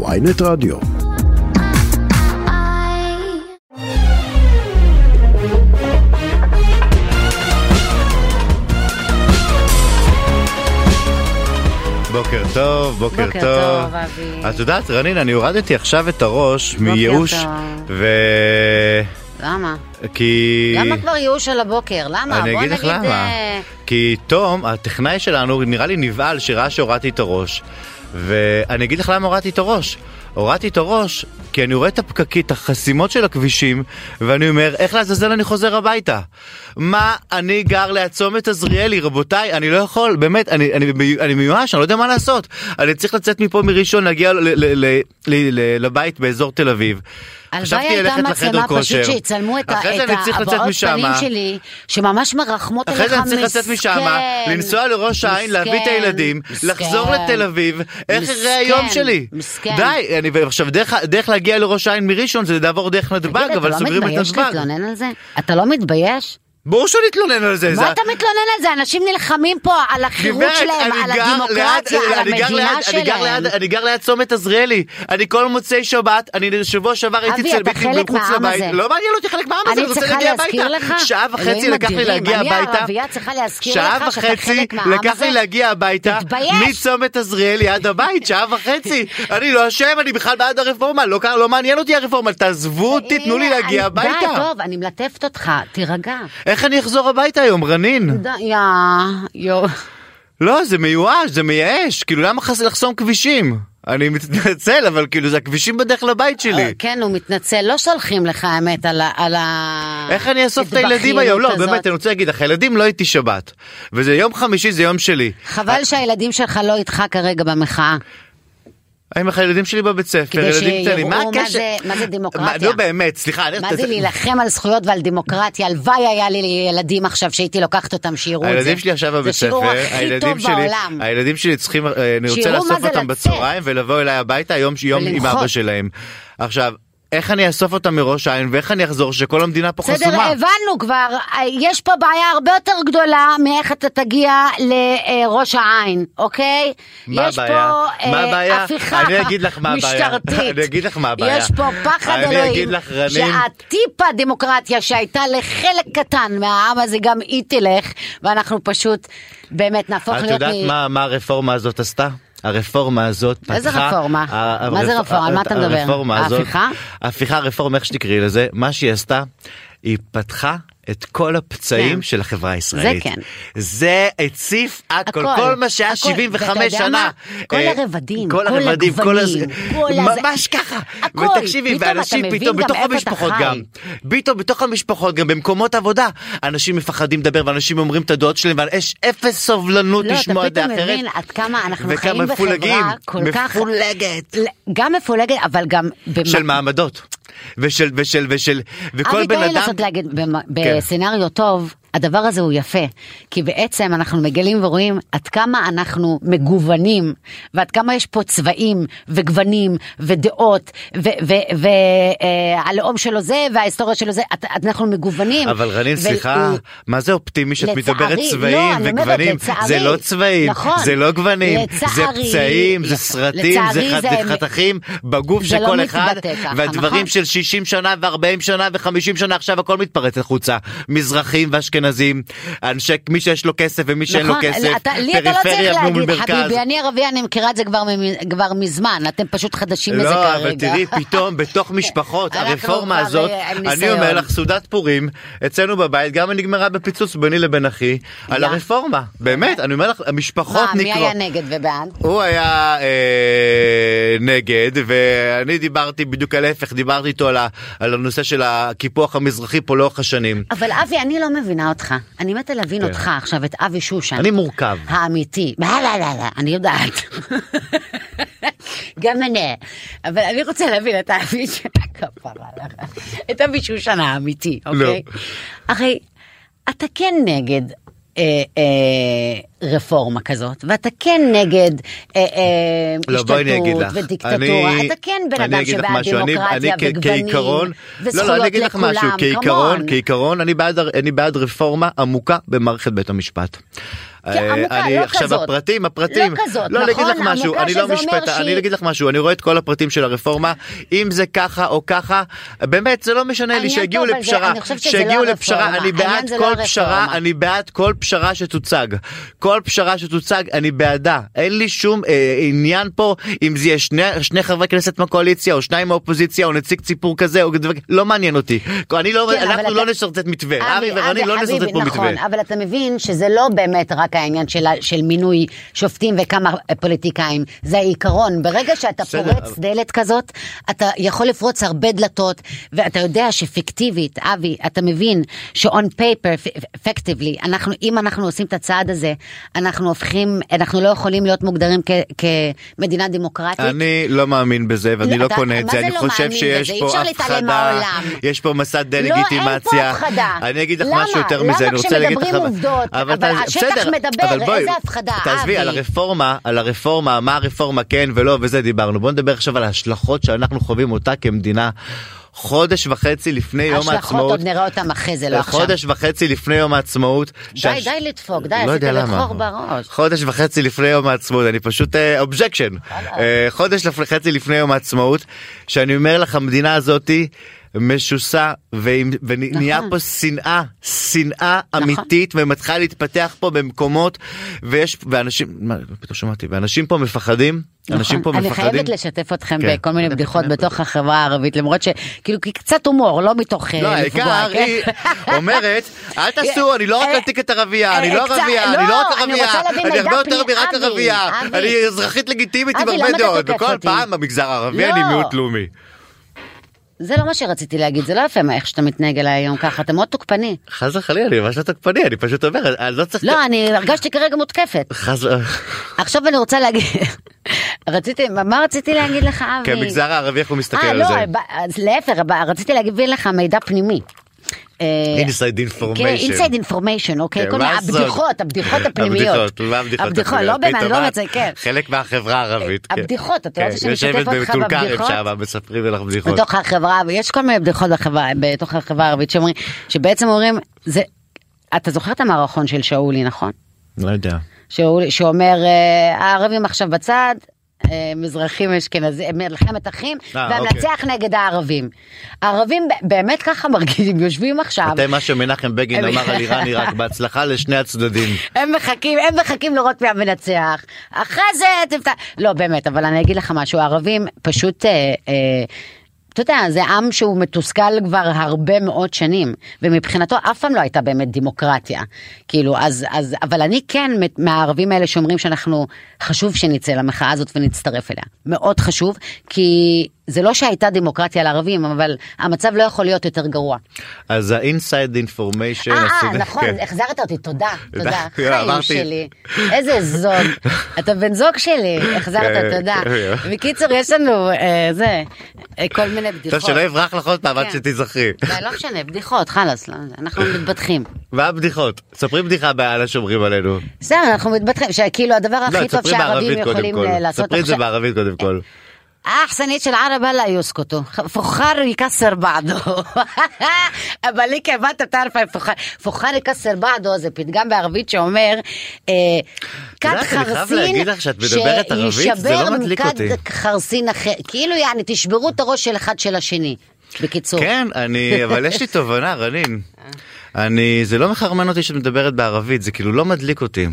ויינט רדיו. בוקר טוב, בוקר בוקר טוב. טוב, אבי. את יודעת, רנין, אני הורדתי עכשיו את הראש בוקר מייאוש, טוב. ו... למה? כי... למה לא כבר ייאוש על הבוקר? למה? אני בוא אגיד לך נגיד, למה. אה, כי תום, הטכנאי שלנו, נראה לי נבהל שראה שהורדתי את הראש. ואני אגיד לך למה הורדתי את הראש. הורדתי את הראש כי אני רואה את הפקקית, החסימות של הכבישים, ואני אומר, איך לעזאזל אני חוזר הביתה? מה, אני גר ליד צומת עזריאלי, רבותיי, אני לא יכול, באמת, אני, אני, אני, אני מיואש, אני לא יודע מה לעשות. אני צריך לצאת מפה מראשון, להגיע ל, ל, ל, ל, ל, לבית באזור תל אביב. הלוואי חשבתי הייתה ללכת לחדר מצלמה פשוט כושר. שיצלמו את ה- אחרי זה את אני צריך לצאת הבעות פנים משמה. שלי, שממש מרחמות עליך אחרי מסכן. זה אני צריך לצאת משם, אה? לנסוע לראש העין, להביא את מסכן, הילדים, מסכן. לחזור לתל אביב, איך מסכן, יראה היום שלי? מסכן. די, אני- ועכשיו דרך- דרך להגיע לראש העין מראשון זה לעבור דרך נתב"ג, תגיד, אבל סוגרים את אתה לא מתבייש נתב"ג. להתלונן על זה? אתה לא מתבייש? ברור שאני אתלונן על זה. זה- מה אתה מתלונן על זה? אנשים נלחמים פה על החירות גברת, שלהם, אני על גר הדמוקרטיה, ליד- על אני גר המדינה ליד- אני גר שלהם. ליד- אני גר ליד צומת עזריאלי, אני כל מוצאי שבת, אני שבוע שעבר הייתי אבי, אצל אתה ביטי חלק מחוץ מהעם לבית, הזה. לא מעניין אותי חלק מהעם הזה, אני רוצה צריכה להגיע להזכיר הביתה, לך? שעה וחצי אלוהים לקח לי אדירים, להגיע אני הביתה, הערבייה צריכה להזכיר שעה לך שאתה וחצי חלק מהעם לקח הזה? לי להגיע הביתה, תתבייש. מצומת עזריאלי עד הבית, שעה וחצי, אני לא אשם, אני בכלל בעד הרפורמה, לא קרה- לא מעניין אותי הרפורמה, תעזבו אותי, תנו לי הנה, להגיע אני- די, הביתה, טוב, אני מלטפת אותך, תירגע. איך אני אחזור הביתה היום, רנין? די, יא, יו. לא, זה מיואש, זה מייאש, כאילו למה חס- לחסום כבישים? אני מתנצל, אבל כאילו זה הכבישים בדרך לבית שלי. כן, הוא מתנצל, לא שולחים לך האמת על ה... על ה- איך אני אאסוף את הילדים היום? לא, התבכיינות באמת, אני הזאת. רוצה להגיד לך, הילדים לא איתי שבת. וזה יום חמישי, זה יום שלי. אה, חבל שהילדים שלך לא איתך כרגע במחאה. אני עם הילדים שלי בבית ספר, כדי ילדים קטנים. מה שיראו מה הקשר? זה- מה זה דמוקרטיה. מה, נו באמת, סליחה, אני... מה זה להילחם על זכויות ועל דמוקרטיה? הלוואי היה לי ילדים עכשיו שהייתי לוקחת אותם שיראו את זה. הילדים שלי עכשיו בבית זה ספר, שיעור הכי הילדים טוב שלי, בעולם. הילדים שלי צריכים, אה, אני רוצה שיראו מה לאסוף זה אותם לצאת. בצהריים ולבוא אליי הביתה יום יום עם ולמחות. אבא שלהם. עכשיו, איך אני אאסוף אותם מראש העין ואיך אני אחזור שכל המדינה פה בסדר, חסומה? הבנו כבר, אה, יש פה בעיה הרבה יותר גדולה מאיך אתה תגיע לראש העין, אוקיי? מה יש הבעיה? פה מה אה, הבעיה? הפיכה אני אגיד לך מה הבעיה. משטרתית. אני אגיד לך מה הבעיה. יש פה פחד אני אגיד אלוהים, לך, רנין- שהטיפה דמוקרטיה שהייתה לחלק קטן מהעם הזה גם היא תלך, ואנחנו פשוט באמת נהפוך את להיות... יודעת מ- מה מה הרפורמה הזאת עשתה? הרפורמה הזאת פתחה... איזה רפורמה? ה- מה זה הרפ- רפורמה? על מה אתה מדבר? הרפורמה הזאת... ההפיכה? הפיכה, רפורמה, איך שתקראי לזה, מה שהיא עשתה, היא פתחה את כל הפצעים כן. של החברה הישראלית. זה כן. זה הציף הכל, הכל, כל מה שהיה הכל. 75 ואתה יודע שנה. מה? כל אה, הרבדים, כל כל הרבדים, כל הז- הגוונים, כל הזה- ממש ככה. הכל. ותקשיבי, פתאום אתה ואנשים מבין פתאום גם בתוך איפה אתה המשפחות חי. גם. פתאום בתוך המשפחות, גם במקומות עבודה, אנשים מפחדים לדבר ואנשים אומרים את הדעות שלהם ויש אפס סובלנות לא, לשמוע אתה דעה פתאום אחרת. מבין עד כמה אנחנו וכמה חיים בחברה כל כך... לא. מפולגת. גם מפולגת, אבל גם... במ- של מעמדות. ושל, ושל, ושל, וכל בן אביגיל אדם... הזאת להגיד, במ- כן. בסצנריו טוב, הדבר הזה הוא יפה, כי בעצם אנחנו מגלים ורואים עד כמה אנחנו מגוונים, ועד כמה יש פה צבעים, וגוונים, ודעות, והלאום שלו זה, וההיסטוריה שלו זה, את- אנחנו מגוונים. אבל רנין, ו- אה, סליחה, מה זה אופטימי שאת לצערי, מדברת לא, צבעים אני אומרת, וגוונים? לצערי. זה לא צבעים, נכון. זה לא גוונים, זה לצערי, פצעים, זה נכון. סרטים, זה לצערי, חת- זה- זה חתכים בגוף זה של לא כל מתבטא אחד, ככה, והדברים נכון. של 60 שנה ו-40 שנה ו-50 שנה, עכשיו הכל מתפרץ החוצה. מזרחים ואשכנזים, אנשי, מי שיש לו כסף ומי שאין לו נכון, כסף, אתה- לי אתה לא צריך פריפריה מול להגיד, מרכז. חביבי, אני ערבייה, אני מכירה את זה כבר ממ- כבר מזמן, אתם פשוט חדשים לזה כרגע. לא, אבל תראי, פתאום בתוך משפחות, אנחנו הרפורמה כבר, הזאת, אה, עם אני ניסיון. אומר לך, סעודת פורים, אצלנו בבית, גם נגמרה בפיצוץ ביני לבין אחי, על יא. הרפורמה. באמת, אני אומר לך, המשפחות מה, מי נקראות. היה נגד ובעד? הוא היה אה, נגד, ואני דיברתי בדיוק על ההפך, דיברתי איתו על, ה, על הנושא של הקיפוח המזרחי פה לאורך השנים. אבל אבי, אני לא מבינה אותך. אני מתה להבין כן. אותך עכשיו, את אבי שושן. אני מורכב. האמיתי. לא, לא, לא, לא, אני יודעת. גם אני. אבל אני רוצה להבין את האבי ש- כפרה לך. את אבי שושן האמיתי, לא. אוקיי? הרי אתה כן נגד. אה, אה, רפורמה כזאת ואתה כן נגד אה, אה, לא, בואי אני אגיד השתלטות לך. ודיקטטורה אני- אתה כן בן אני אדם אגיד לך שבעד משהו, אני- אני דמוקרטיה כ- וגוונים כעיקרון- וזכויות לא, לא, אני אגיד לך משהו, לכולם, כעיקרון, כמון. כעיקרון, אני בעד- אני בעד רפורמה עמוקה במערכת בית המשפט. אה, כעמותה, אני- לא עכשיו כזאת. הפרטים, הפרטים. לא כזאת, לא, אני אגיד לך נכון? משהו, עמוקה אני לא שזה אומר משפטן, שהיא- אני אגיד לך משהו, אני רואה את כל הפרטים של הרפורמה, אם זה ככה או ככה, באמת, זה לא משנה לי, העניין שהגיעו פה, אבל זה- לפשרה, אני חושבת שזה שהגיעו לא לפשרה, הרפורמה. אני העניין בעד זה לא כל הרפורמה. פשרה, אני בעד כל פשרה שתוצג. כל פשרה שתוצג, אני בעדה. אין לי שום אה, עניין פה, אם זה יהיה שני, שני חברי כנסת מהקואליציה, או שניים מהאופוזיציה, או נציג ציבור כזה, או דבר- לא מעניין אותי. אני לא, כן, אבל אנחנו אתה- לא נשרטט מתווה, אבי ורני לא אבי, נשרטט פה נכון, מתווה. אבל אתה מבין שזה לא באמת רק העניין של, ה- של מינוי שופטים וכמה אה, פוליטיקאים, זה העיקרון. ברגע שאתה בסדר, פורץ אבל- דלת כזאת, אתה יכול לפרוץ הרבה דלתות, ואתה יודע שפיקטיבית, אבי, אתה מבין ש-on paper, effectively, אנחנו, אם אנחנו עושים את הצעד הזה, אנחנו הופכים, אנחנו לא יכולים להיות מוגדרים כ- כמדינה דמוקרטית. אני לא מאמין בזה ואני לא, לא אתה- קונה את מה זה, זה אני לא חושב מאמין שיש בזה? אי פה אפשר להתעלם הפחדה, מהעולם. יש פה מסע לא, אין פה דה-לגיטימציה. הפחדה. אני אגיד לך למה? משהו יותר למה מזה, אני רוצה להגיד לך... כשמדברים עובדות? אבל תעז- השטח בסדר, מדבר, אבל בואי, איזה הפחדה, תעזבי, אבי. על הרפורמה, על הרפורמה, מה הרפורמה כן ולא וזה דיברנו. בואו נדבר עכשיו על ההשלכות שאנחנו חווים אותה כמדינה. חודש וחצי לפני יום ההשלכות העצמאות, עוד נראה אותם אחרי זה, לא עכשיו. חודש וחצי לפני יום העצמאות. לא די, די לדפוק, די, עשית יודע לו למה. חור בראש. חודש וחצי לפני יום העצמאות, אני פשוט אובג'קשן. חודש לפ- וחצי לפני יום העצמאות, שאני אומר לך, המדינה הזאתי משוסה, ועם- ונהיה נכון. פה שנאה, שנאה אמיתית, ומתחילה להתפתח פה במקומות, ויש, ואנשים, מה, פתאום שמעתי, ואנשים פה מפחדים, אנשים פה נכון. מפחדים. אני חייבת לשתף אתכם כן. בכל מיני בטח, בדיחות בטח. בתוך החברה הערבית, למרות שכאילו קצת הומור, לא מתוך אה, לא, לפגוע, העיקר כן? היא אומרת, אל תעשו, אני לא רק אה, אתיק ערבייה, אני אה, לא קצת- ערבייה, אני לא, לא רק אני ערבייה, רוצה להביא אני מידע הרבה יותר פנים. מרק אבי, ערבייה, אבי. אני אזרחית לגיטימית עם אבי, למה הרבה אתה דעות, תוקף וכל אותי? פעם במגזר הערבי לא. אני מיעוט לאומי. זה לא מה שרציתי להגיד, זה לא יפה מה- איך שאתה מתנהג אליי היום ככה, אתה מאוד תוקפני. חס וחלילה, אני ממש לא תוקפני, אני פשוט אומר, אני לא צריך... לא, אני הרגשתי כרגע מותקפת. חס... עכשיו אני רוצה להגיד, רציתי, מה רציתי להגיד לך, אבי? כמגזר הערבי איך הוא מסתכל אה, על לא, זה? ב- אז להפך, ב- רציתי להגיד לך מידע פנימי. אה, Inside information. כן, inside information, אוקיי? כן, כל מה מיני זאת? הבדיחות, הבדיחות הפנימיות. הבדיחות, מה הבדיחות? הבדיחות, לא הפנימיות? באמת, פתאום לא את באמת, זה כן. חלק מהחברה הערבית. כן. הבדיחות, אתה לא רוצה כן, שאני אשתף אותך יושבת בטול בבדיחות? כרם שם, מספרים לך בדיחות. בתוך החברה, ויש כל מיני בדיחות בחברה, בתוך החברה הערבית שאומרים, שבעצם אומרים, זה, אתה זוכר את המערכון של שאולי, נכון? לא יודע. שאול- שאומר, אה, הערבים עכשיו בצד. אה, מזרחים אשכנזים, מלחמת אחים, אה, והמנצח נגד הערבים. הערבים ב- באמת ככה מרגישים, יושבים עכשיו, אתם מה שמנחם בגין אמר על איראן עיראק, בהצלחה לשני הצדדים. הם מחכים, הם מחכים לראות מי המנצח. אחרי זה תפתח... לא, באמת, אבל אני אגיד לך משהו, הערבים פשוט... אה, אה, אתה יודע, זה עם שהוא מתוסכל כבר הרבה מאוד שנים, ומבחינתו אף פעם לא הייתה באמת דמוקרטיה. כאילו, אז, אז, אבל אני כן מת- מהערבים האלה שאומרים שאנחנו, חשוב שנצא למחאה הזאת ונצטרף אליה. מאוד חשוב, כי זה לא שהייתה דמוקרטיה לערבים, אבל המצב לא יכול להיות יותר גרוע. אז ה-inside information, אה, אה, הסוג- נכון, כן. החזרת אותי, תודה, תודה. די, חיים אמרתי. שלי, איזה זוג. אתה בן זוג שלי, כן, החזרת, תודה. כן. בקיצור, יש לנו, אה, זה, אה, כל מיני טוב בדיחות. שלא יברח לך עוד פעם עד כן. שתיזכרי. די, לא משנה, בדיחות, חלאס, לא, אנחנו מתבטחים. מה הבדיחות? ספרי בדיחה בעל השומרים עלינו. בסדר, אנחנו מתבטחים, שכאילו הדבר הכי לא, טוב ספרי שהערבים בערבית קודם יכולים כל. אה, לעשות ספרי את זה עכשיו. כן, בערבית קודם כל. האחסנית של ערב אללה יוסקוטו, פוחר יכסר בעדו. אבל לי כבת תערף פוחר, פוחר יכסר בעדו זה פתגם בערבית שאומר, אה, כד יודעת, אני חייב להגיד לך שאת מדברת ערבית, זה לא מדליק אותי. מכד חרסין אחר, כאילו יעני תשברו את הראש של אחד של השני, בקיצור. כן, אני, אבל יש לי תובנה, רנין. אני, זה לא מחרמן אותי שאת מדברת בערבית, זה כאילו לא מדליק אותי.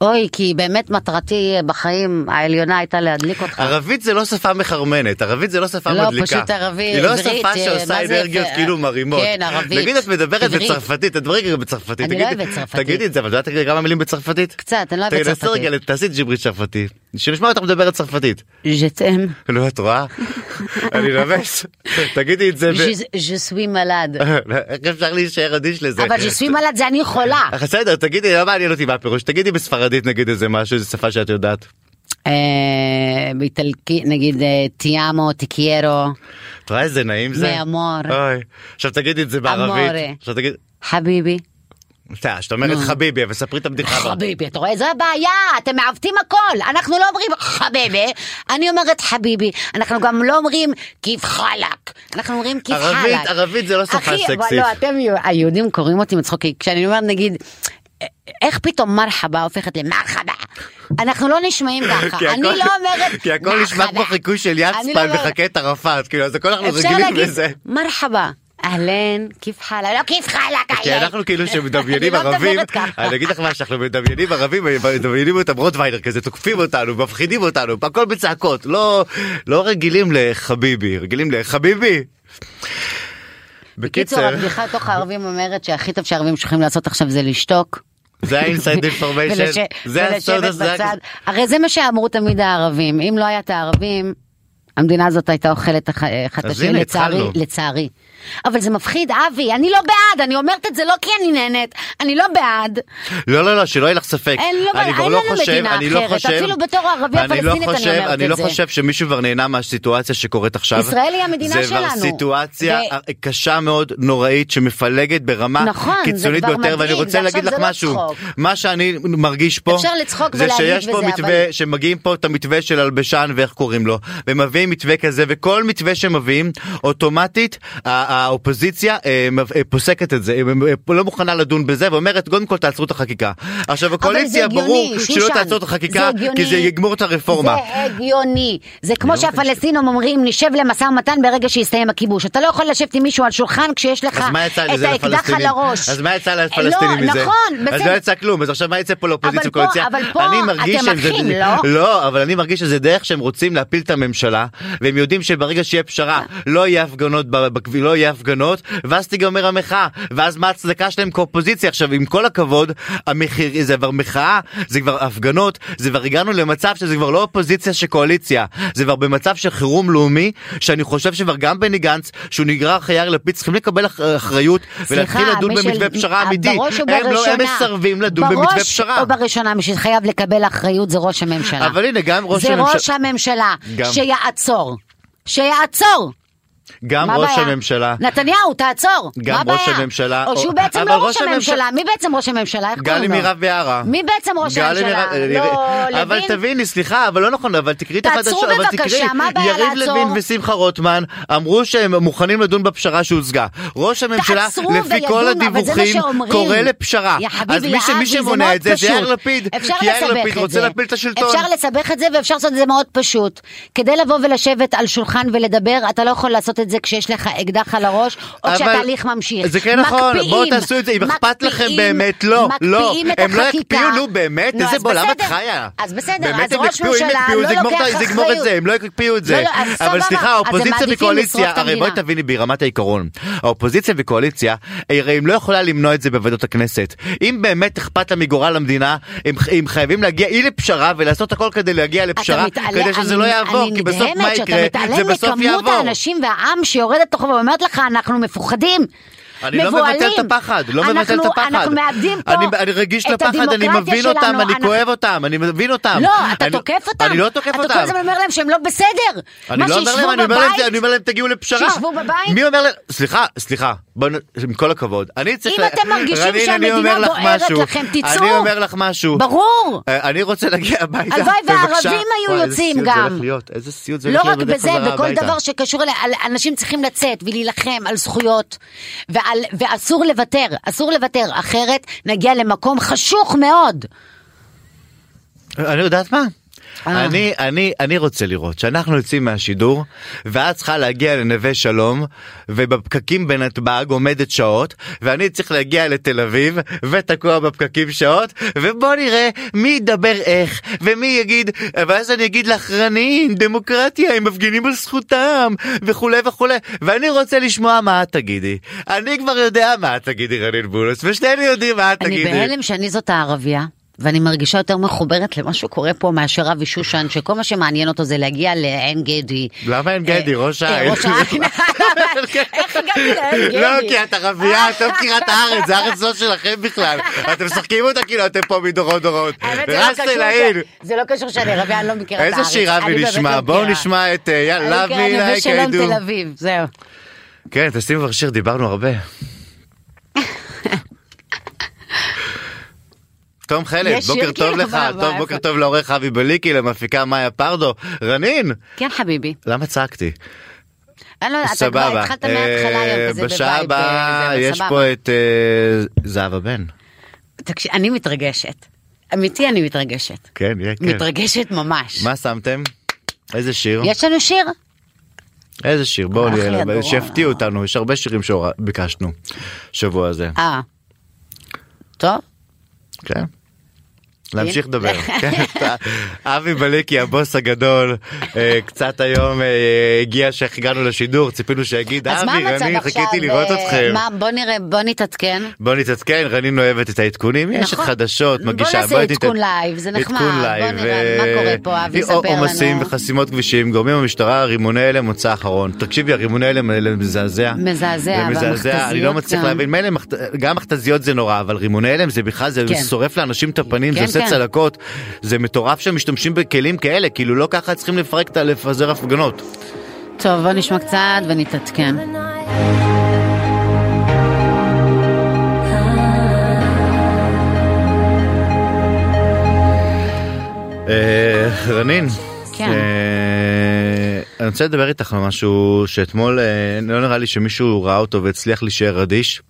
אוי, כי באמת מטרתי בחיים העליונה הייתה להדליק אותך. ערבית זה לא שפה מחרמנת, עברית זה לא שפה לא, מדליקה. פשוט ערבי, היא לא עברית, שפה אה, שעושה מה זה, אנרגיות אה, כאילו מרימות. כן, ערבית, נגיד את מדברת עברית. בצרפתית, הדברים גם בצרפתית. אני לא תגידי- אוהבת צרפתית. תגידי את זה, אבל את יודעת כמה מילים בצרפתית? קצת, אני לא אוהבת תנסי צרפתית. רגע, תעשי ג'יברית צרפתי. שנשמע אותך מדברת צרפתית. ז'תאם, לא, את רואה? אני רמז. תגידי את זה. ב- ז'סווי מלד. אה, איך אפשר להישאר אדיש לזה? אבל ז'סווי מלד זה אני חולה. אך בסדר, תגידי, לא מעניין אותי מה הפירוש. תגידי בספרדית נגיד איזה משהו, איזה שפה שאת יודעת. אה, באיטלקי, נגיד אה, תיאמו, תיקיירו, את רואה איזה נעים זה? מאמור. אוי. עכשיו תגידי את זה בערבית. אמורה. עכשיו תגיד... חביבי. אתה, שאת אומרת חביבי, אבל ספרי את הבדיחה הבאה. חביבי, אתה רואה? זו הבעיה, אתם מעוותים הכל. אנחנו לא אומרים חביבי, אני אומרת חביבי. אנחנו גם לא אומרים כיף חלק. אנחנו אומרים כיף חלק. ערבית- ערבית זה לא שפה אחי, אבל סקסית. לא, אתם, היהודים קוראים אותי מצחוקים. כשאני אומרת, נגיד... איך פתאום מרחבה הופכת למרחבה? אנחנו לא נשמעים ככה, כי אני הכל- לא אומרת כי הכל נשמע מרחבה. כמו חיקוי של אני יצפן לא אומרת- וחכה את ערפאת, כאילו, אז הכל אנחנו אפשר רגילים להגיד לזה. מרחבה, אהלן, כיף חלה, לא כיף חלה, כי כאלה. אנחנו כאילו שמדמיינים אני לא ערבים, מדברת ככה. אני אגיד לך מה שאנחנו מדמיינים ערבים, מדמיינים אותם רוטוויילר כזה, תוקפים אותנו, מפחידים אותנו, הכל בצעקות, לא לא רגילים לחביבי, רגילים לחביבי. קיצור, בקיצר, הבדיחה תוך הערבים אומרת שהכי טוב שהערבים צריכים לעשות עכשיו זה לשתוק. זה ה-inside ולש- information, זה הסוד, ולשבת הזה. בצד. הרי זה מה שאמרו תמיד הערבים, אם לא היה את הערבים, המדינה הזאת הייתה אוכלת אח- אחת את אז השנייה, הנה, לצערי, התחלנו. לצערי. אבל זה מפחיד, אבי, אני לא בעד, אני אומרת את זה לא כי אני נהנית, אני לא בעד. לא לא לא שלא יהיה לך ספק, אין, לא, אני אין כבר לא לנו חושב, מדינה אני לא אחרת, חושב, אפילו בתור ערבייה אני לא פלסטינית אני חושב- אומרת אני את לא זה. חושב שמישהו כבר נהנה מהסיטואציה שקורית עכשיו, ישראל היא המדינה זה כבר שלנו. סיטואציה ו- קשה מאוד, נוראית, שמפלגת ברמה נכון, זה קיצונית כבר ביותר, ואני מדאיג, רוצה ועכשיו להגיד לך זה לא משהו, צחוק. מה שאני מרגיש פה, אפשר לצחוק זה ולהגיד שיש פה וזה, מתווה, אבל- שמגיעים פה את המתווה של הלבשן ואיך קוראים לו, ומביאים מתווה כזה, וכל מתווה שמביאים, אוטומטית ה- האופוזיציה אה, מב- אה, פוסקת את זה, היא אה, לא מוכנה לדון בזה, ואומרת קודם כל תעצרו את החקיקה. עכשיו הקואליציה הגיוני, ברור שלא שושן. תעצור את החקיקה, זה הגיוני. כי זה יגמור את הרפורמה. לא זה אה, הגיוני. זה כמו שהפלסטינים אומרים, נשב למשא ומתן ברגע שיסתיים הכיבוש. אתה לא יכול לשבת עם מישהו על שולחן כשיש לך אז מה את יצא לזה האקדח על לפלסטינים? הראש. אז מה יצא לפלסטינים לא, מזה? נכון, אז לא בסדר. יצא כלום, אז עכשיו מה יצא פה לאופוזיציה אבל פה- וקואליציה? אבל פה אני מרגיש אתם שהם זה- אחים, לא? לא, אבל אני מרגיש שזה דרך שהם רוצים להפיל את הממשלה, והם יודעים שברגע שיהיה אה. פשרה לא יהיה הפגנות, ב- בכביש, לא יהיה הפגנות, ואז תיגמר המחאה, ואז מה ההצדקה שלהם כאופוזיציה? עכשיו, עם כל הכבוד, המחיר, זה כבר מחאה, זה כבר הפגנות, זה כבר הגענו למצב שזה כבר לא אופוזיציה שקואליציה, זה כבר במצב של חירום לאומי, שאני חושב שכבר גם בני גנץ, שהוא נגרר אחרי יאיר לפיד, צריכים לקבל אח- אחריות ולהתחיל לדון מישל, במתווה פשרה אמיתי. אה, בראש או הם לא- הם בראשונה. מסרבים לדון במתווה בראש פשרה. או בראשונה, מי שחייב לקבל אחריות זה ראש הממשלה. אבל הנה, גם ראש זה הממשלה- ראש הממשלה, גם. שיעצור. שיעצור! גם מה ראש הבעיה? הממשלה. נתניהו, תעצור! גם מה ראש הבעיה? הממשלה- או שהוא או- בעצם אבל לא ראש ראש הממשלה- הממשלה. מי בעצם ראש הממשלה? איך גלי קוראים לו? מירב יערה. מי בעצם ראש גלי הממשלה? מירב- לא, אבל לוין? תביני, סליחה, אבל לא נכון, אבל תקראי את תעצרו החדשות. אבל בבקשה, תקראי. מה הבעיה יריב לעצור? לוין ושמחה רוטמן אמרו שהם מוכנים לדון בפשרה שהושגה. ראש הממשלה, תעצרו לפי כל וידונו, אבל זה מה הדיווחים, שאומרים. קורא לפשרה. יא חביבי, אז מי ש- מי לאבי, זה שמונע מאוד את זה זה פשוט. יאיר לפיד. אפשר כי יאיר לסבך לפיד את רוצה זה. להפיל את השלטון. אפשר לסבך את זה ואפשר לעשות את זה מאוד פשוט. כדי לבוא ולשבת על שולחן ולדבר, אתה לא יכול לעשות את זה כשיש לך אקדח על הראש, או אבל- כשהתהליך ממשיך. זה כן נכון, מקפיאים, בואו תעשו את זה, אם אכפת לכם מקפיאים, באמת, לא, מקפיאים לא, את הם לא החקיקה. יקפיאו, נו באמת, נו, איזה אז בולמת בסדר. חיה. אז בסדר, באמת אז הם ראש יקפיאו, אם ממשלה יקפיאו, לא זה יגמור את ה- לוקח זה יגמור את זה, אחריות. הם לא יקפיאו את לא, זה. לא, אז אבל סבבה, אז סליחה, הם האופוזיציה מעדיפים לשרוף וקואליציה, את הרי בואי המדינה. תביני ברמת העיקרון, האופוזיציה וקואליציה, הרי הם לא יכולה למנוע את זה בוועדות הכנסת. אם באמת אכפת לה מגורל המדינה, הם- הם חייבים להגיע אי לפשרה ולעשות הכל כדי להגיע לפשרה, אתה מתעלם- כדי שזה לא אני- יעבור, כי בסוף מה יקרה, אני נדהמת זה שאתה בסוף מתעלם מכמות יעבור. האנשים והעם שיורדת תוכה ואומרת לך, אנחנו מפוחדים. אני לא מבוהלים. מבטל את הפחד, לא מבטל את אנחנו- הפחד. אנחנו מאבדים פה אני, אני רגיש את לפחד, אני הדמוקרטיה מבין שלנו, אותם, אני אנחנו- כואב אותם, אני מבין אותם. לא, אתה אני- תוקף אותם. אני לא תוקף אתה כל אותם. הזמן אומר להם שהם לא בסדר. אני מה, לא אומר שישבו להם, אני אומר להם, בבית? אני אומר להם תגיעו לפשרה. שישבו בבית? מי אומר להם, סליחה, סליחה, בוא נ- עם כל הכבוד. אני צריך... אם ל- אתם מרגישים רנין, אני שהמדינה אומר לך בוערת משהו. לכם, תצאו. אני אומר לך משהו. ברור. אה, אני רוצה להגיע הביתה. הלוואי בבקשה. והערבים היו וואי, יוצאים איזה סיוט זה גם. הולך להיות, איזה סיוט זה לא הולך רק להיות בדרך בזה, חזרה בכל הביתה. דבר שקשור, ל- על- אנשים צריכים לצאת ולהילחם על זכויות, ועל, ואסור לוותר, אסור לוותר, אחרת נגיע למקום חשוך מאוד. אני יודעת מה. אה. אני אני אני רוצה לראות שאנחנו יוצאים מהשידור ואת צריכה להגיע לנווה שלום ובפקקים בנתב"ג עומדת שעות ואני צריך להגיע לתל אביב ותקוע בפקקים שעות ובוא נראה מי ידבר איך ומי יגיד ואז אני אגיד לך רנין דמוקרטיה הם מפגינים על זכותם וכולי וכולי ואני רוצה לשמוע מה את תגידי אני כבר יודע מה את תגידי רנין בולוס ושנינו יודעים מה את אני תגידי. בהלם שאני זאת הערבייה. ואני מרגישה יותר מחוברת למה שקורה פה מאשר אבי שושן, שכל מה שמעניין אותו זה להגיע לעין גדי. למה אין גדי? אה, ראש אה, העין. ראש העין. איך הגעתי לעין גדי? לא, כי את ערבייה, את לא מכירה את הארץ, זה הארץ לא שלכם בכלל. אתם משחקים אותה כאילו אתם פה מדורות דורות. האמת, זה לא רס קשור אל העיר. ש- זה לא קשור שאני ערבייה, אני לא מכירה את הארץ. איזה שיר אני אבי באמת נשמע? לא בואו מכירה. אוקיי, נשמע את אה, אני יאללה מכירה אבי נווה אליי שלום כידו. תל אביב, זהו. כן, תשימו כבר שיר, דיברנו הרבה. תום חלד, יש שיר בוקר טוב כאילו? לך, מה, טוב מה, בוקר איפה? טוב לעורך אבי בליקי, למפיקה מאיה פרדו, רנין, כן חביבי. למה צעקתי? אני לא יודעת, אתה כבר סבבה, התחלת מההתחלה היום, אה, וזה בווייב. בשעה הבאה אה, זה, אבל יש סבבה. פה את אה, זהבה בן. תקשיב, אני מתרגשת. אמיתי, אני מתרגשת. כן, יהיה, כן. מתרגשת ממש. מה שמתם? איזה שיר? יש לנו שיר? איזה שיר? בואו אחי, נראה, הדור. שיפתיעו אותנו, יש הרבה שירים שביקשנו שבוע הזה. אה. טוב. כן. להמשיך לדבר. כן, אתה- אבי בליקי הבוס הגדול אה, קצת היום אה, הגיע שהגענו לשידור ציפינו שיגיד אז מה אבי המצב רני עכשיו? חיכיתי לראות אה, אתכם. מה, בוא נראה, בוא נתעדכן. בוא נתעדכן רנין אוהבת את העדכונים יש את נכון. חדשות בוא מגישה. נעשה תתעד- עדכון לייב, זה נחמד. עדכון בוא לייב, נראה, מה אה, קורה פה, אבי, אה, ספר לנו. עומסים וחסימות כבישים גורמים במשטרה רימוני הלם מוצא אחרון תקשיבי הרימוני הלם האלה מזעזע. מזעזע, זה מזעזע אני לא והמכת"זיות מצליח גם. להבין מילא מכת- גם מכתזיות זה נורא אבל רימוני הלם זה בכלל זה כן. שורף לאנשים את הפנים זה כן, עושה כן. צלקות זה מטורף שמשתמשים בכלים כאלה כאילו לא ככה צריכים לפרק את ה- לפזר הפגנות. טוב, בוא נשמע קצת ונתעדכן. אה, רנין, כן. אה, אני רוצה לדבר איתך על משהו שאתמול אה, לא נראה לי שמישהו ראה אותו והצליח להישאר אדיש.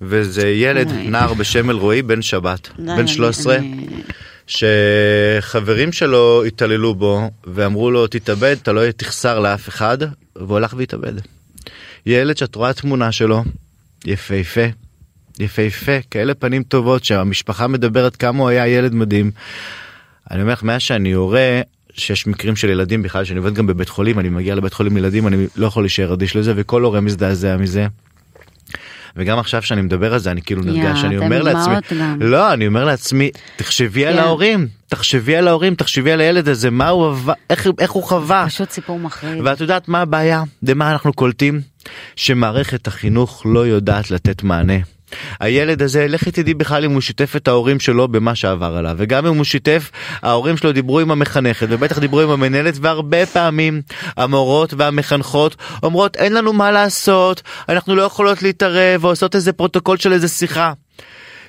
וזה ילד, אוי. נער בשם אלרועי בן שבת, לא, בן אני- 13, אני- שחברים שלו התעללו בו ואמרו לו תתאבד, אתה לא תחסר לאף אחד, והוא הלך והתאבד. ילד שאת רואה תמונה שלו, יפהפה, יפהפה, כאלה פנים טובות שהמשפחה מדברת כמה הוא היה ילד מדהים. אני אומר לך, מאז שאני הורה, שיש מקרים של ילדים בכלל, שאני עובד גם בבית חולים, אני מגיע לבית חולים לילדים, אני לא יכול להישאר אדיש לזה, וכל הורה מזדעזע מזה. וגם עכשיו שאני מדבר על זה, אני כאילו יא, נרגש, אני אתם אומר עם לעצמי, דמעות גם. לא, אני אומר לעצמי, תחשבי על כן. ההורים, תחשבי על ההורים, תחשבי על הילד הזה, מה הוא עבר, איך, איך הוא חווה. פשוט סיפור מחריד. ואת יודעת מה הבעיה? למה אנחנו קולטים? שמערכת החינוך לא יודעת לתת מענה. הילד הזה, לכי תדעי בכלל אם הוא שיתף את ההורים שלו במה שעבר עליו. וגם אם הוא שיתף, ההורים שלו דיברו עם המחנכת, ובטח דיברו עם המנהלת, והרבה פעמים המורות והמחנכות אומרות, אין לנו מה לעשות, אנחנו לא יכולות להתערב, או עושות איזה פרוטוקול של איזה שיחה.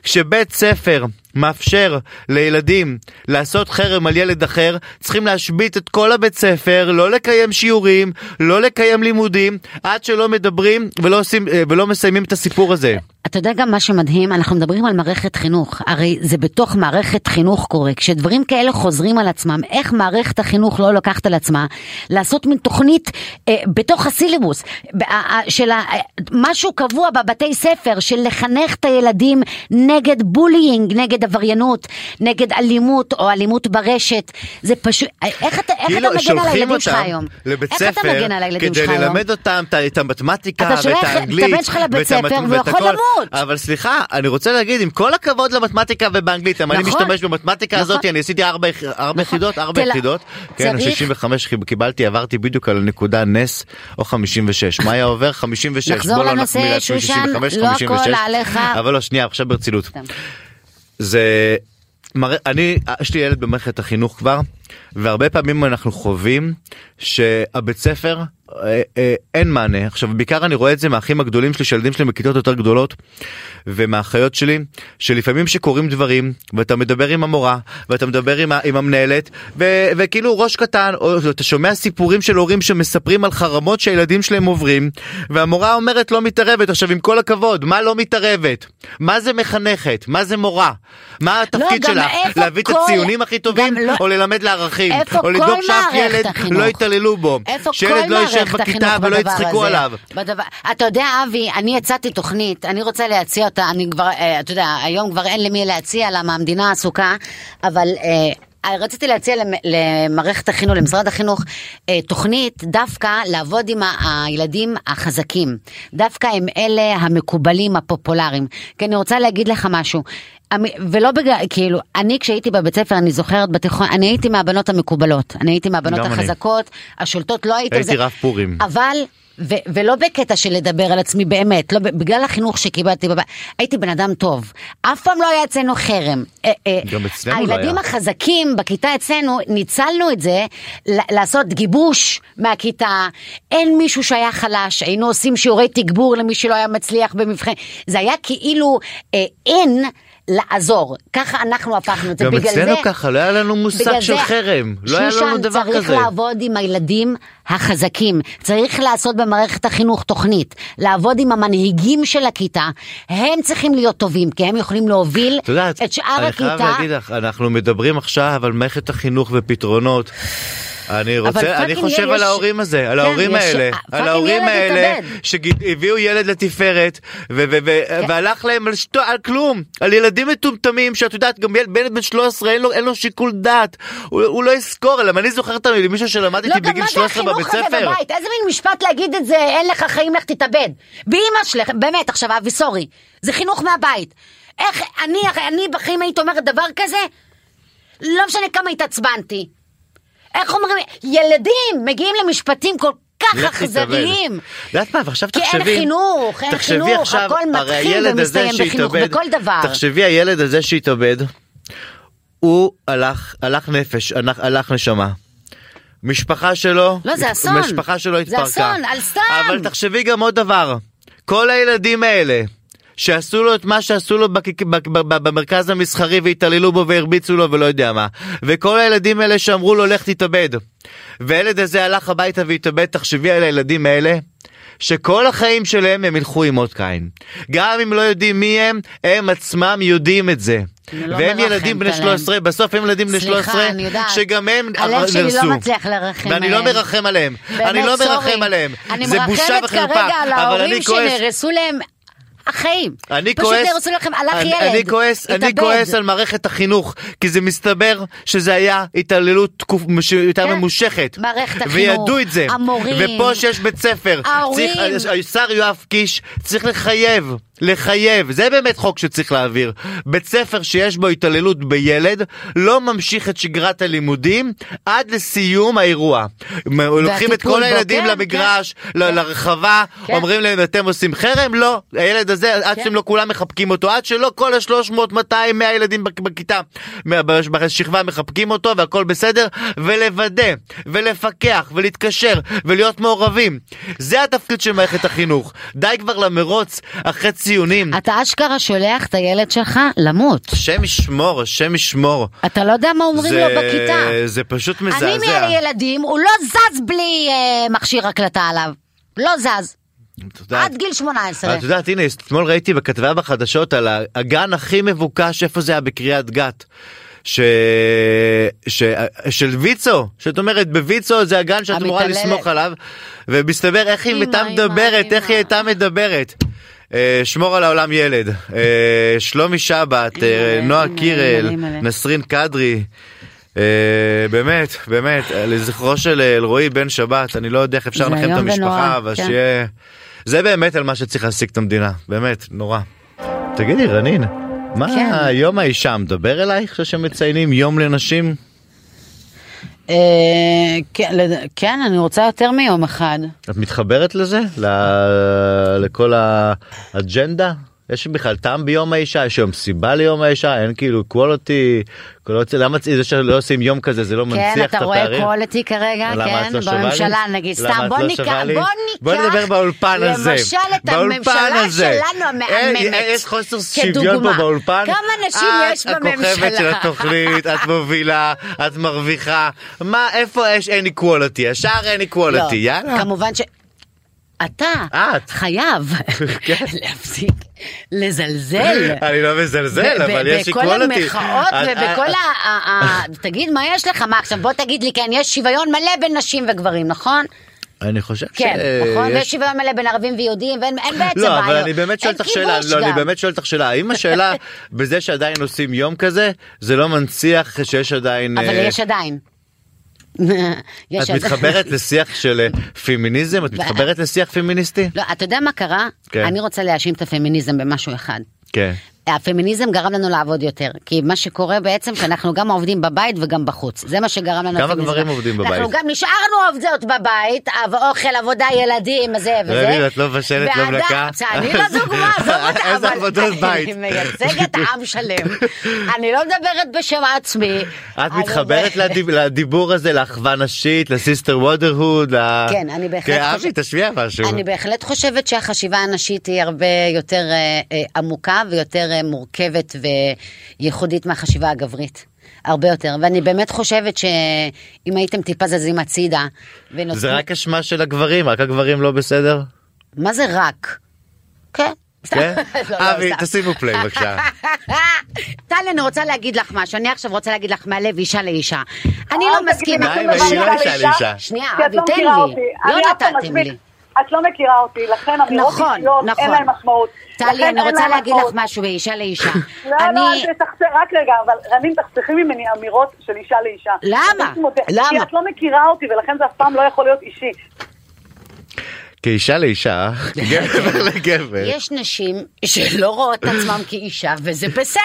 כשבית ספר מאפשר לילדים לעשות חרם על ילד אחר, צריכים להשבית את כל הבית ספר, לא לקיים שיעורים, לא לקיים לימודים, עד שלא מדברים ולא, עושים, אה, ולא מסיימים את הסיפור הזה. אתה יודע גם מה שמדהים, אנחנו מדברים על מערכת חינוך, הרי זה בתוך מערכת חינוך קורה, כשדברים כאלה חוזרים על עצמם, איך מערכת החינוך לא לוקחת על עצמה לעשות מין תוכנית אה, בתוך הסילבוס, ב- ה- ה- של ה- אה, משהו קבוע בבתי ספר, של לחנך את הילדים נגד בולינג, נגד עבריינות, נגד אלימות או אלימות ברשת, זה פשוט, אה, איך אתה, איך אתה מגן על הילדים שלך היום? כאילו, לבית איך אתה ספר מגן על הילדים כדי שלך היום? ללמד אותם את- את המתמטיקה אתה ואת שולח את האנגלית. הבן שלך לבית ואת המת- ספר והוא ואת יכול הכל. למות. אבל סליחה, אני רוצה להגיד, עם כל הכבוד למתמטיקה ובאנגלית, אם אני נכון. משתמש במתמטיקה נכון. הזאת, אני עשיתי ארבע יח- ארבע נכון. יחידות, ארבע תל- יחידות. כן, צריך- 65 קיבלתי, עברתי בדיוק על הנקודה נס, או 56. מה היה עובר? 56. נחזור בוא לא לנושא, נחמיא לעצמי, שושן, 65, לא הכל 56. עליך. אבל לא, שנייה, עכשיו ברצינות. סתם. זה מראה אני יש לי ילד במערכת החינוך כבר והרבה פעמים אנחנו חווים שהבית ספר אה, אה, אין מענה עכשיו בעיקר אני רואה את זה מהאחים הגדולים שלי שהילדים שלהם בכיתות יותר גדולות ומהאחיות שלי שלפעמים שקורים דברים ואתה מדבר עם המורה ואתה מדבר עם, ה- עם המנהלת ו, וכאילו ראש קטן או אתה שומע סיפורים של הורים שמספרים על חרמות שהילדים שלהם עוברים והמורה אומרת לא מתערבת עכשיו עם כל הכבוד מה לא מתערבת מה זה מחנכת מה זה מורה מה התפקיד לא, גם שלך איפה להביא את כל- הציונים הכי טובים גם לא- או ללמד לערכים איפה או כל לדאוג שאף מערכת ילד החינוך? לא יתעללו בו איפה כל שילד לא מערכת יישב החינוך בכיתה ולא בדבר יצחקו הזה? עליו. בדבר... אתה יודע, אבי, אני הצעתי תוכנית, אני רוצה להציע אותה, אני כבר, אה, אתה יודע, היום כבר אין למי להציע, למה המדינה עסוקה, אבל... אה, רציתי להציע למ- למערכת החינוך, למשרד החינוך, אה, תוכנית דווקא לעבוד עם ה- הילדים החזקים. דווקא הם אלה המקובלים, הפופולריים. כי אני רוצה להגיד לך משהו, אמי- ולא בגלל, כאילו, אני כשהייתי בבית ספר, אני זוכרת בתיכון, אני הייתי מהבנות המקובלות. אני הייתי מהבנות גם אני. החזקות, השולטות, לא הייתי... הייתי זה- רב פורים. אבל, ו, ולא בקטע של לדבר על עצמי באמת, לא, ב- בגלל החינוך שקיבלתי בבית, הייתי בן אדם טוב. אף פעם לא היה אצלנו חרם. אה, אה, גם אצלנו לא הילדים היה. החזקים בכיתה אצלנו, ניצלנו את זה ל- לעשות גיבוש מהכיתה. אין מישהו שהיה חלש, היינו עושים שיעורי תגבור למי שלא היה מצליח במבחן. זה היה כאילו אה, אין. לעזור. ככה אנחנו הפכנו את זה. גם בגלל אצלנו זה- ככה, לא היה לנו מושג בגלל של זה- חרם. לא היה לנו דבר שושן, צריך כזה. לעבוד עם הילדים החזקים. צריך לעשות במערכת החינוך תוכנית. לעבוד עם המנהיגים של הכיתה. הם צריכים להיות טובים, כי הם יכולים להוביל את יודעת, את שאר אני חייב הכיתה. להגיד לך, אנחנו מדברים עכשיו על מערכת החינוך ופתרונות. אני רוצה, אני פאקינג חושב ילד על יש- ההורים הזה, על כן, ההורים יש- האלה, פאקינג על ההורים ילד האלה התאבד. כן. שהביאו ילד לתפארת ו- ו- ו- והלך להם על שטו- על כלום, על ילדים מטומטמים שאת יודעת, גם ילד בן בן 13 אין לו- אין לו שיקול דעת, הוא הוא לא יזכור, אלא אני זוכר אותם מישהו שלמד לא, איתי גם בגיל מה זה 13 החינוך בבית הזה ספר. בבית? איזה מין משפט להגיד את זה, אין לך חיים, לך תתאבד. באמא שלך, באמת, עכשיו, אבי, סורי. זה חינוך מהבית. איך אני, אני בחיים היית אומרת דבר כזה? לא משנה כמה התעצבנתי. איך אומרים, ילדים מגיעים למשפטים כל כך לך תתאבד. אכזריים. את יודעת מה, ועכשיו כי אין תחשבי, חינוך, אין תחשבי חינוך, עכשיו, הכל הרי מתחיל הילד הזה ומסתיים בחינוך, שהתאבד- בכל דבר. תחשבי, הילד הזה שהתאבד, הוא הלך, הלך נפש, הלך, הלך נשמה. משפחה שלו, לא, זה אסון. משפחה שלו זה התפרקה. אסון, על סתם. אבל תחשבי גם עוד דבר, כל הילדים האלה. שעשו לו את מה שעשו לו בק- בק- ב- ב- במרכז המסחרי והתעללו בו והרביצו לו ולא יודע מה. וכל הילדים האלה שאמרו לו לך תתאבד. והילד הזה הלך הביתה והתאבד, תחשבי על הילדים האלה. שכל החיים שלהם הם ילכו עם אות קין. גם אם לא יודעים מי הם, הם עצמם יודעים את זה. אני לא והם מרחמת ילדים בני עליהם. 13, בסוף הם ילדים בני סליחה, 13, אני יודעת. שגם הם הלב שלי לא נרסו. מצליח לרחם ואני לא עליהם. מרחם עליהם. באמת, אני לא מרחם סורי. עליהם. אני זה בושה וחרפה. מרחמת כרגע על אבל ההורים אני כועס. שנהרסו להם החיים. אני פשוט כועס, נהרסו לכם, הלך אני, ילד, אני כועס, אני התאבד. כועס על מערכת החינוך, כי זה מסתבר שזה היה התעללות תקופ... מש... יותר כן. ממושכת. מערכת החינוך, וידעו את זה. המורים, ופה שיש בית ספר. ההורים. צריך- השר יואב קיש צריך לחייב, לחייב, זה באמת חוק שצריך להעביר. בית ספר שיש בו התעללות בילד, לא ממשיך את שגרת הלימודים עד לסיום האירוע. מ- לוקחים את והטיפול כל בו, הילדים כן, למגרש, כן, ל- כן. לרחבה, כן. אומרים להם אתם עושים חרם? לא, הילד הזה, עד כן. שהם לא כולם מחבקים אותו, עד שלא כל ה-300, 200, 100 ילדים בכ- בכיתה, מה- בש- בשכבה מחבקים אותו והכל בסדר, ולוודא, ולפקח, ולהתקשר, ולהיות מעורבים. זה התפקיד של מערכת החינוך. די כבר למרוץ אחרי ציונים. אתה אשכרה שולח את הילד שלך למות. השם ישמור, השם ישמור. אתה לא יודע מה אומרים זה- לו בכיתה. זה פשוט מזעזע. אני מאלה ילדים, הוא לא זז בלי אה, מכשיר הקלטה עליו. לא זז. את יודעת, עד גיל 18. את יודעת, הנה, אתמול ראיתי בכתבה בחדשות על הגן הכי מבוקש, איפה זה היה? בקריית גת. ש... ש... של ויצו, שאת אומרת בוויצו זה הגן שאת אמורה המתעללת. לסמוך עליו, ומסתבר איך היא אמא, הייתה אמא, מדברת, איך אמא. היא הייתה מדברת. אה, שמור על העולם ילד, אה, שלומי שבת, אה, אימא'לה, נועה אימא'לה, קירל, אימא'לה. נסרין קדרי, אה, באמת, באמת, לזכרו של אה, אלרועי בן שבת, אני לא יודע איך אפשר זה לנחם את איום ונורא, המשפחה, אבל כן. שיהיה... זה באמת על מה שצריך להעסיק את המדינה, באמת, נורא. תגידי, רנין, מה כן. יום האישה מדבר אלייך שמציינים יום לנשים? אה, כן, לד- כן, אני רוצה יותר מיום אחד. את מתחברת לזה? ל- לכל האג'נדה? יש בכלל טעם ביום האישה? יש היום סיבה ליום האישה? אין כאילו equality? כל עוד- למה זה שלא עושים יום כזה זה לא כן, מנציח את אתה רואה הפערים? קואליטי כרגע, למה כן, את לא שווה לי? בממשלה נגיד, למה סתם, את בוא לא ניקח, שווה לי? בוא בוא ניקח, נדבר באולפן הזה. למשל את באולפן הממשלה הזה. שלנו אין- המהממת, יש חוסר שוויון פה כדוגמה. באולפן. אה, כמה נשים יש את הכוכבת של בממשלה? התוכנית, את מובילה, את מרוויחה. מה, איפה יש אין איקוולטי? השאר אין לא, איקוולטי, יאללה. אה, כמובן ש... אתה את. חייב כן. להפסיק לזלזל. אני לא מזלזל, ב- אבל ב- יש אה, בכל איקוולטי. המחאות ובכל ה... ה- ה- תגיד, מה יש לך? מה עכשיו, בוא תגיד לי, כן, יש שוויון מלא בין נשים וגברים, נכון? אני חושב ש... כן, נכון? יש- ויש שוויון מלא בין ערבים ויהודים, ואין אין בעצם לא, בעיות. אבל אני באמת שואל אין אותך שאלה, כיבוש לא, אני גם. באמת שואל אותך שאלה, האם השאלה בזה שעדיין עושים יום כזה, זה לא מנציח שיש עדיין... אבל אה, יש עדיין. יש את עדיין. מתחברת לשיח של אה, פמיניזם? את מתחברת לשיח פמיניסטי? לא, אתה יודע מה קרה? כן. אני רוצה להאשים את הפמיניזם במשהו אחד. כן. הפמיניזם גרם לנו לעבוד יותר, כי מה שקורה בעצם שאנחנו גם עובדים בבית וגם בחוץ, זה מה שגרם לנו. כמה הפמיניזם. גברים עובדים בבית? אנחנו גם נשארנו עובדות בבית, אבל אוכל, עבודה, ילדים, זה וזה. רביב, את לא מבשלת, לא ועדיין- מנקה. אני לא דוגמה, עזוב אותה, אבל... איזה עבודות בית. אני מייצגת עם שלם. אני לא מדברת בשם עצמי. את אני- מתחברת לדיב- לדיבור הזה, לאחווה נשית, לסיסטר וודרהוד? כן, אני בהחלט כן, אבי, חושבת- תשמיע משהו. אני בהחלט חושבת שהחשיבה הנשית היא הרבה יותר אה, אה, עמוקה ויותר אה, אה, מורכבת וייחודית מהחשיבה הגברית. הרבה יותר, ואני באמת חושבת שאם הייתם טיפה זזים הצידה ונותנים... זה רק אשמה של הגברים, רק הגברים לא בסדר? מה זה רק? כן. כן? לא, לא, אבי, סתם. תשימו פליי בבקשה. טל, אני רוצה להגיד לך משהו, אני עכשיו רוצה להגיד לך מהלב אישה לאישה. אני אל לא אה, תגידי מסכימה. משהו די, אבל היא לא לאישה. אישה לאישה. שנייה, כי את אבי, לא תן מכירה לי. אותי. לא אני אף פעם נתתם מספיק. לי. את לא מכירה אותי, לכן אמירות נכון, אישיות נכון. אין להן משמעות. לכן טלי, אני אין רוצה להן להגיד משמעות. לך משהו מאישה לאישה. לא, לא, אני... אל תסכסך, רק רגע, אבל רנין, תחסכי ממני אמירות של אישה לאישה. למה? אני מודה, למה? כי את לא מכירה אותי, ולכן זה אף פעם לא יכול להיות אישי. כאישה לאישה, כגבר לגבר. כן. יש נשים שלא רואות את עצמם כאישה, וזה בסדר.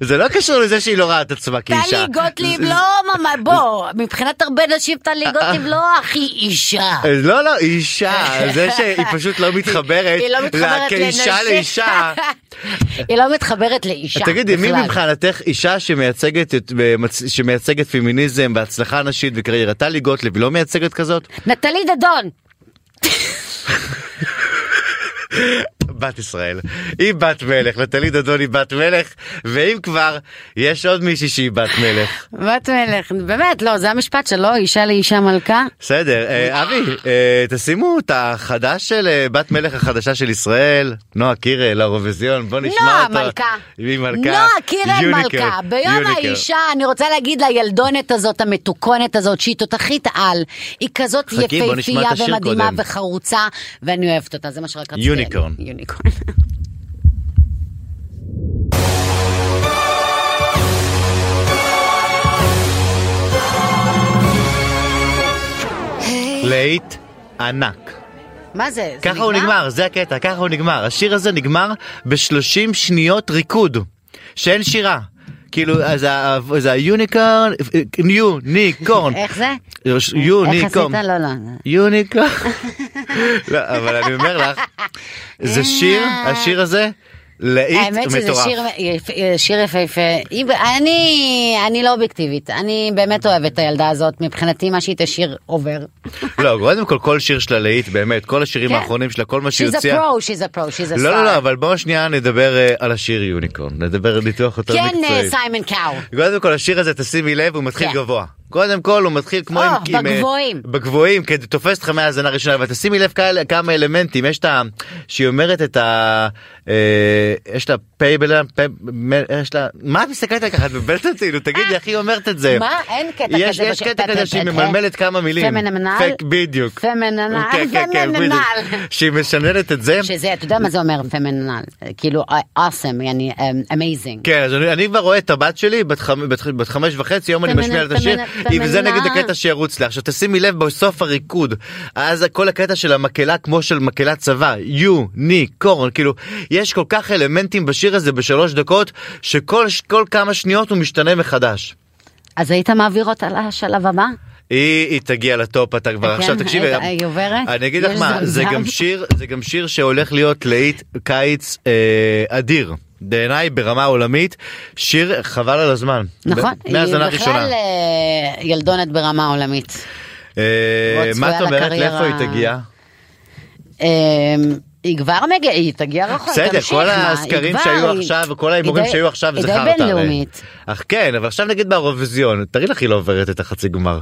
זה לא קשור לזה שהיא לא רואה את עצמה כאישה. טלי גוטליב זה- לא, ממש, בוא, מבחינת הרבה נשים טלי גוטליב לא הכי אישה. אז לא, לא, היא אישה, זה שהיא פשוט לא מתחברת, היא לא לה- מתחברת כאישה לנשים. לאישה. היא לא מתחברת לאישה אז תגידי, מי בכלל. מבחינתך אישה שמייצגת את- מצ- שמייצגת פמיניזם והצלחה נשית וקריירה? טלי גוטליב היא לא מייצגת כזאת? נטלי דדון. בת ישראל. היא בת מלך, נטלי דדון היא בת מלך, ואם כבר, יש עוד מישהי שהיא בת מלך. בת מלך, באמת, לא, זה המשפט שלו, אישה לאישה מלכה. בסדר, אה, אבי, אה, תשימו את החדש של אה, בת מלך החדשה של ישראל, נועה קירל, לאירוויזיון, בוא נשמע נועה אותו. מלכה. היא מלכה. נועה קירל יוניקר, מלכה. ביום יוניקר. האישה, אני רוצה להגיד לילדונת הזאת, המתוקונת הזאת, שהיא תותחית על, היא כזאת חכי, בוא נשמע את יפהפייה השיר ומדהימה קודם. וחרוצה, ואני אוהבת אותה, זה מה שרק רציתי. יוניקורן. יוניקורן. להיט ענק. מה זה? זה ככה הוא נגמר, זה הקטע, ככה הוא נגמר. השיר הזה נגמר ב-30 שניות ריקוד, שאין שירה. כאילו, אז ה- זה היוניקורן, יוניקורן. איך זה? יוניקורן. איך עשית? לא, לא. יוניקורן. לא, אבל אני אומר לך, זה שיר, השיר הזה, להיט אה. האמת שזה מטורף. שיר, יפ- אה, שיר יפהפה. היא- אני, אני לא אובייקטיבית, אני באמת אוהבת את הילדה הזאת, מבחינתי מה שהיא תשאיר עובר. לא, קודם כל, כל שיר שלה להיט, באמת, כל השירים כן. האחרונים שלה, כל מה שהיא She's a הוציאה. pro, she's a pro, she's a star. לא, לא, לא, אבל בואו שנייה נדבר אה, על השיר יוניקורן, נדבר ניתוח יותר כן, מקצועי. אה, סיימון קאו. קודם כל השיר הזה תשימי לב הוא מתחיל כן. גבוה. קודם כל הוא מתחיל כמו או, עם... עם, אה, בגבוהים. בגבוהים, כי תופס אותך מהאזנה הראשונה, אבל תשימי לב כאלה- כמה אלמנטים, יש את ה... שהיא אומרת את ה... אה, יש לה פייבלן, פייבלן, יש לה... מה את מסתכלת עליי ככה? את מבלבלת אותי, נו תגידי איך היא אומרת את זה. אה, מה? אין קטע יש- כזה יש בשיר. קטע כזה שהיא ממלמלת כמה מילים. פמנמנל? פק- בדיוק. פמננל, כן, כן, כן, פמננל. בדיוק. שהיא משננת את זה. שזה, אתה יודע מה זה אומר פמינל? כאילו, awesome, יעני, אמ, amazing. כן, אז אני, אני כבר רואה את הבת שלי, בת, חמ, בת, בת חמש וחצי, היום אני פמנה- משמיע לה את השיר, פמנה- היא- וזה פמנה. נגיד הקטע שירוץ לה. עכשיו תשימי לב בסוף הריקוד, אז כל הקטע של המקהלה כמו של מקהלת צבא, יוניקורן, כאילו, יש כל כך אלמנטים בשיר הזה בשלוש דקות, שכל כל כמה שניות הוא משתנה מחדש. אז היית מעביר אותה לשלב הבא? היא, היא תגיע לטופ אתה כבר כן, עכשיו תקשיבי היא- היא עוברת? אני אגיד לך יש מה זה זמזם? גם שיר זה גם שיר שהולך להיות להיט קיץ אה, אדיר בעיניי ברמה עולמית שיר חבל על הזמן נכון. ב- מהאזנה היא הראשונה בכלל אה, ילדונת ברמה עולמית. אה, מאוד מה את צפויה אומרת לקריירה- לאיפה היא תגיע אמ, היא כבר מגיעה, היא תגיע רחוק, בסדר תמשיך, כל מה, היא הסקרים כבר- שהיו היא- עכשיו וכל ההימורים היא די- שהיו עכשיו זה היא די חרטא הרי. בינלאומית. אך כן אבל עכשיו נגיד באירוויזיון תראי לך היא לא עוברת את החצי גמר.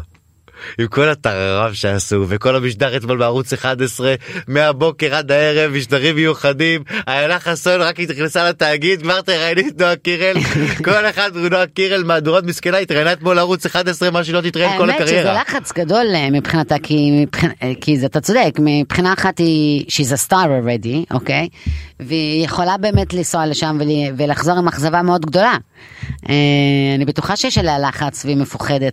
עם כל הטררם שעשו וכל המשדר אתמול בערוץ 11 מהבוקר עד הערב משדרים מיוחדים איילה חסון רק נכנסה לתאגיד כבר תראייני את נועה קירל כל אחד הוא נועה קירל מהדורות מסכנה התראיינה אתמול ערוץ 11 מה שלא תתראיין כן, כל האמת שזה הקריירה. לחץ גדול אה, מבחינתה, כי, מבחינ... אה, כי זה, אתה צודק, מבחינה אחת היא, she's a star already, אוקיי? והיא יכולה באמת לנסוע לשם ול... ולחזור עם אכזבה מאוד גדולה. אה, אני בטוחה שיש עליה לחץ והיא מפוחדת.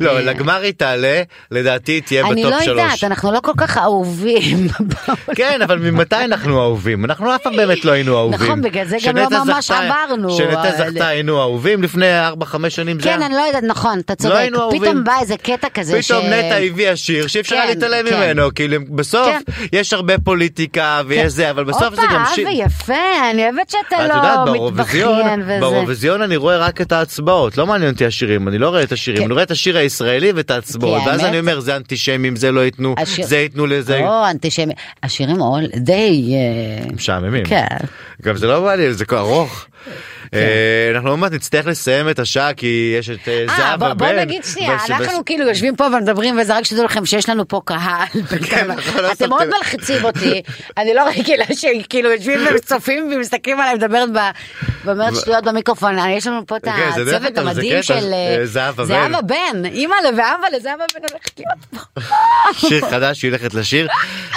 לא לגמר היא תעלה לדעתי היא תהיה אני בטופ לא שלוש. יודעת, אנחנו לא כל כך אהובים. בעולם. כן, אבל ממתי אנחנו אהובים? אנחנו אף פעם באמת לא היינו אהובים. נכון, בגלל זה גם לא כשנטע ממש זכתה- עברנו, כשנטע אבל- זכתה היינו אהובים לפני 4-5 שנים זה כן, היה. אני לא יודעת, נכון, אתה צודק. היינו אהובים. פתאום בא איזה קטע כזה ש... פתאום נטע הביאה שיר שאי אפשר כן, היה להתעלם כן. ממנו, כאילו הם- בסוף כן. יש הרבה פוליטיקה ויש זה, אבל בסוף זה גם הופה, שיר. אבי, יפה, אני אוהבת שאתה את יודעת, לא באירוויזיון, מתבכיין וזה. באירוויזיון אני רואה רק את ההצבעות, לא מעניין אותי השירים, אני לא רואה את השירים, כן. אני רואה את השיר הישראלי ואת ההצבעות. כי ואז האמת- אני אומר, זה אנטישמים, זה לא ייתנו, השיר- זה ייתנו לזה. או, אנטישמי. השירים all די... אה, משעממים. כן. גם זה לא בא לי, זה כבר ארוך. אה, אנחנו עוד מעט נצטרך לסיים את השעה כי יש את אה, אה, זהבה בוא בן. בוא נגיד שנייה, וש- אנחנו כאילו יושבים פה ומדברים, וזה רק שתדעו לכם שיש לנו פה קהל. כן, אנחנו לא אתם מאוד סותמים. מלחיצים אותי, אני לא רגילה שכאילו יושבים וצופים ומסתכלים עליי, מדברת ב- ו- ואומרת שטויות במיקרופון, אה, יש לנו פה את כן, זה דרך הצוות אגב, זה המדהים קטע, של אה, אה, זהבה בן. זהבה בן, אימא'לה ואבא'לה, זהבה בן הולכת להיות פה. שיר חדש, היא הולכת לשיר,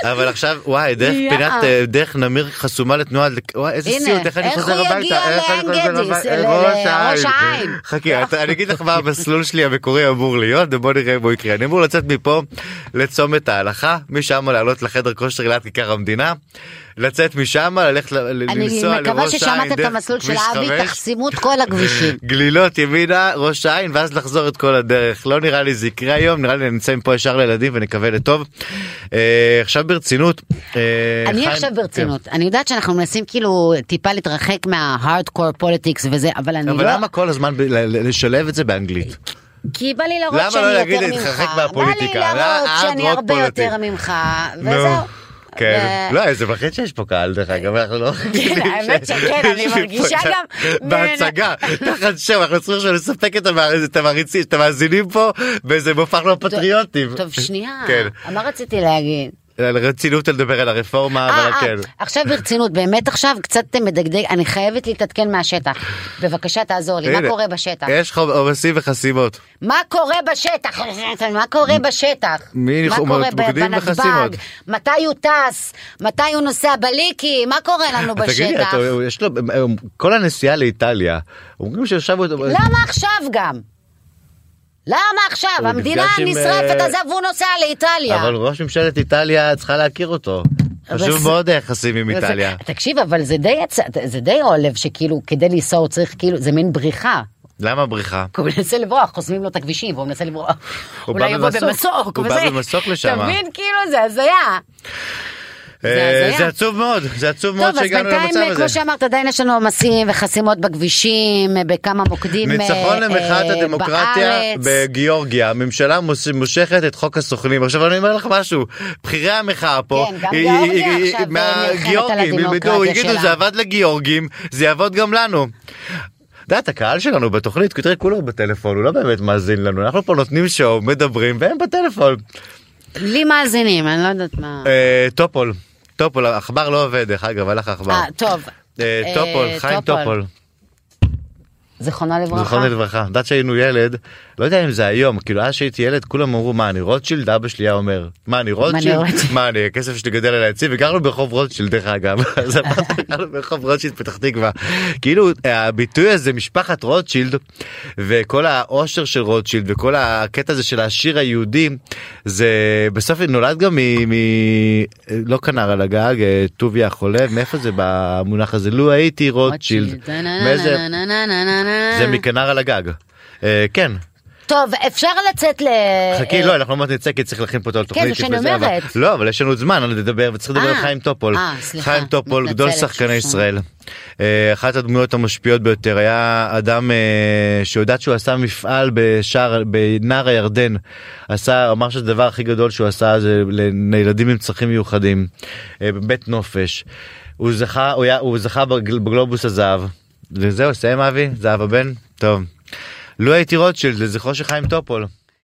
אבל עכשיו, וואי, דרך יאה. פינת, אה, דרך נמיר חסומה לתנועה, וואי, איזה הנה, סיוט, איך אני איך חוזר הוא הביתה, יגיע איך אני לעין חוזר גדיס, הביתה? ל- ראש ל- ראש העין. העין. חכי, את- אני אגיד לך מה המסלול שלי המקורי אמור להיות, ובוא נראה מה יקרה. אני אמור לצאת מפה לצומת ההלכה, משם לעלות לחדר כושר ליד כיכר המדינה, לצאת משם, ללכת ל- ל- אני לנסוע מקווה לראש עין, ששמעת את דרך המסלול של כביש אבי, חמש. תחסימו את כל הכבישים. גלילות ימינה, ראש העין, ואז לחזור את כל הדרך. לא נראה לי זה יקרה היום, נראה לי נצא מפה ישר לילדים ונקווה לטוב. אה, עכשיו ברצינות. אה, אני חיים- עכשיו ברצינות, אני יודעת שאנחנו מנסים כאילו טיפה להתרחק מההארדקור פוליטיקס וזה, אבל כן. אני אבל לא... למה כל הזמן ב- ל- ל- לשלב את זה באנגלית? כי בא לי להראות למה שאני לא יותר ממך. להגיד להתרחק מהפוליטיקה? בא לי להראות אה, שאני hard rock הרבה פוליטיק. יותר ממך, נו. וזהו. כן, ו- לא, איזה מלחיץ שיש פה קהל דרך אגב, אנחנו לא... כן, האמת שכן, אני יש לי פה מרגישה את ה- גם- בהצגה, תחת שם, אנחנו צריכים עכשיו לספק את המער- את המעריצים, את המאזינים פה, באיזה מופע לא פטריוטים. טוב, שנייה, כן. מה רציתי להגיד? רצינות לדבר על הרפורמה, אה, אבל אה, כן. עכשיו ברצינות, באמת עכשיו קצת מדגדג, אני חייבת להתעדכן מהשטח. בבקשה תעזור לי, הנה, אה? מה קורה בשטח? יש חוב- עומסים וחסימות. מה קורה בשטח? מה קורה בשטח? מי מה חומר- קורה ב- בוגדים בנתב"ג? וחסימות. מתי הוא טס? מתי הוא נוסע בליקי? מה קורה לנו תגידי, בשטח? אתה- יש לו, כל הנסיעה לאיטליה, אומרים שישבו אותו... למה עכשיו גם? למה עכשיו? הוא המדינה נפגש עם, נשרפת, אה, עזב, והוא נוסע לאיטליה. אבל ראש ממשלת איטליה צריכה להכיר אותו. אבל חשוב זה- מאוד היחסים עם איטליה. תקשיב, אבל זה די, הצ- זה די עולב שכאילו, כדי לנסוע הוא צריך כאילו, זה מין בריחה. למה בריחה? כי הוא מנסה לברוח, חוסמים לו את הכבישים, והוא מנסה לברוח. הוא אולי בא יבוא במסוק. במסוק. הוא וזה- בא במסוק לשם. אתה מבין? כאילו, זה הזיה. אה, הזיה. זה עצוב מאוד, זה עצוב מאוד טוב, אז שהגענו בינתיים, אה, למצב הזה. כמו שאמרת, עדיין יש לנו עומסים וחסימות בכבישים, אה, בכמה מוקדים אה, ניצחון למחאת אה, הדמוקרטיה בארץ. בגיאורגיה, הממשלה מוש- מושכת את חוק הסוכנים. עכשיו אני אומר לך משהו, בכירי המחאה פה, כן, גם היא- גיאורגיה היא- היא- עכשיו, מה- נלחמת על גיאורגים, ילמדו, הדמוקרטיה יגידו שלה. זה עבד לגיאורגים, זה יעבוד גם לנו. את יודעת, הקהל שלנו בתוכנית, כי תראה, כולו בטלפון, הוא לא באמת מאזין לנו, אנחנו פה נותנים שואו, מדברים, והם בטלפון. לי מאזינים, אני לא יודעת מה. אה, טופול, טופול, העכבר לא עובד, דרך אגב, הלך העכבר. אה, טוב. אה, אה, טופול, חיים טופול. זיכרונו לברכה. זכרונו לברכה. את יודעת שהיינו ילד, לא יודע אם זה היום, כאילו אז שהייתי ילד, כולם אמרו מה אני רוטשילד, אבא שלי היה אומר, מה אני רוטשילד? רוטשילד? מה אני, הכסף שלי גדל על העצים, וגרנו ברחוב רוטשילד דרך אגב, אז אמרתי, גרנו ברחוב רוטשילד פתח תקווה. כאילו הביטוי הזה משפחת רוטשילד, וכל העושר של רוטשילד, וכל הקטע הזה של העשיר היהודי, זה בסוף נולד גם מ... מ- לא כנר על הגג, אה, טוביה החולב, מאיפה זה במונח הזה? לו הייתי רוטשילד. נה, נה, מאיזה- נה, נה, נה, נה, נה, נה. זה מכנר על הגג. אה, כן, טוב, אפשר לצאת ל... חכי, אה, כן, לא, אנחנו עוד מעט נצא כי צריך להכין פה את התוכנית. זה שאני לפני אבל- אומרת. לא, אבל יש לנו עוד זמן, אני לדבר, וצריך לדבר על אה, חיים טופול. אה, סליחה, חיים טופול, גדול מתנצלת, שחקני שוב. ישראל. אה, אחת הדמויות המשפיעות ביותר, היה אדם אה, שיודעת שהוא עשה מפעל בשער, בנהר הירדן. עשה, אמר שזה הדבר הכי גדול שהוא עשה, זה לילדים עם צרכים מיוחדים, אה, בבית נופש. הוא זכה, הוא היה- הוא זכה בגל- בגלובוס הזהב. וזהו, סיים אבי, זהב הבן, טוב. לו הייתי רוטשילד, לזכרו של חיים טופול.